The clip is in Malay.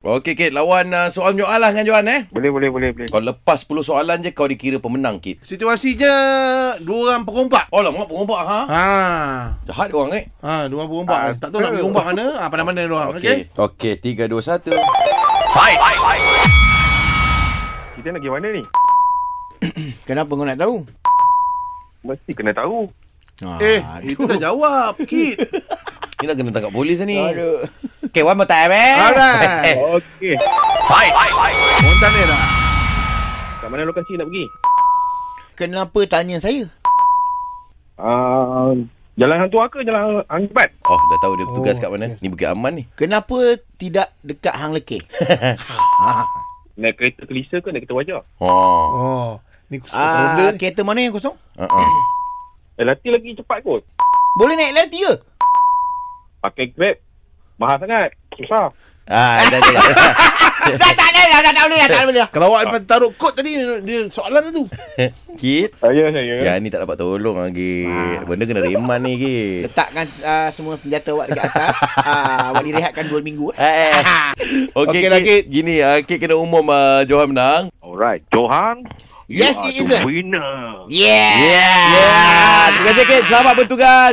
Okey, Kit. Lawan uh, soal menyoal lah dengan Johan eh. Boleh, boleh, boleh, boleh. Kau lepas 10 soalan je, kau dikira pemenang, Kit. Situasinya dua orang perompak. Oh lah, mak perompak ha? Ha. Jahat orang eh. Ha, dua orang perompak. Ah, tak tahu nak pergi rompak mana. Ha, pandai mana dia orang. Okey. Okey. Okey, 3, 2, 1. Kita nak pergi mana ni? Kenapa kau nak tahu? Mesti kena tahu. Ah, Eh, itu dah jawab. Kit. Ni dah kena tangkap polis ni. Aduh. Okay, one more time eh. Alright. Oh, Okey. Montanera. Kat mana lokasi nak pergi? Kenapa tanya saya? Uh, jalan Hang ke Jalan Angkat? Oh, dah tahu dia bertugas Oh, kat mana. Ni Bukit Aman ni. Kenapa tidak dekat hang lekeh? Naik kereta kelisa ke naik kereta wajah? Oh. Oh. Ni khusus roda Ah, ni. kereta mana yang kosong? Uh-uh. LRT Eh, lagi cepat kot. Boleh naik LRT ke? Pakai Grab. Mahal sangat. Susah. Ah, dah dah. dah. dah tak ada, dah, dah tak boleh, dah tak boleh. dah. Kalau awak dapat taruh kod tadi dia soalan tu. Kit. Saya, saya. Ya, ni tak dapat tolong lagi. Benda kena reman ni, Kit. Letakkan ah, semua senjata awak dekat atas. Ah, awak direhatkan 2 minggu. eh. Eh. eh. Okey, Okey lah, Kit. Gini, uh, Kit kena umum uh, Johan menang. Alright. Johan. Yes, you are it is, the sir. winner. Yeah. Yeah. Terima kasih, Kit. Selamat bertugas.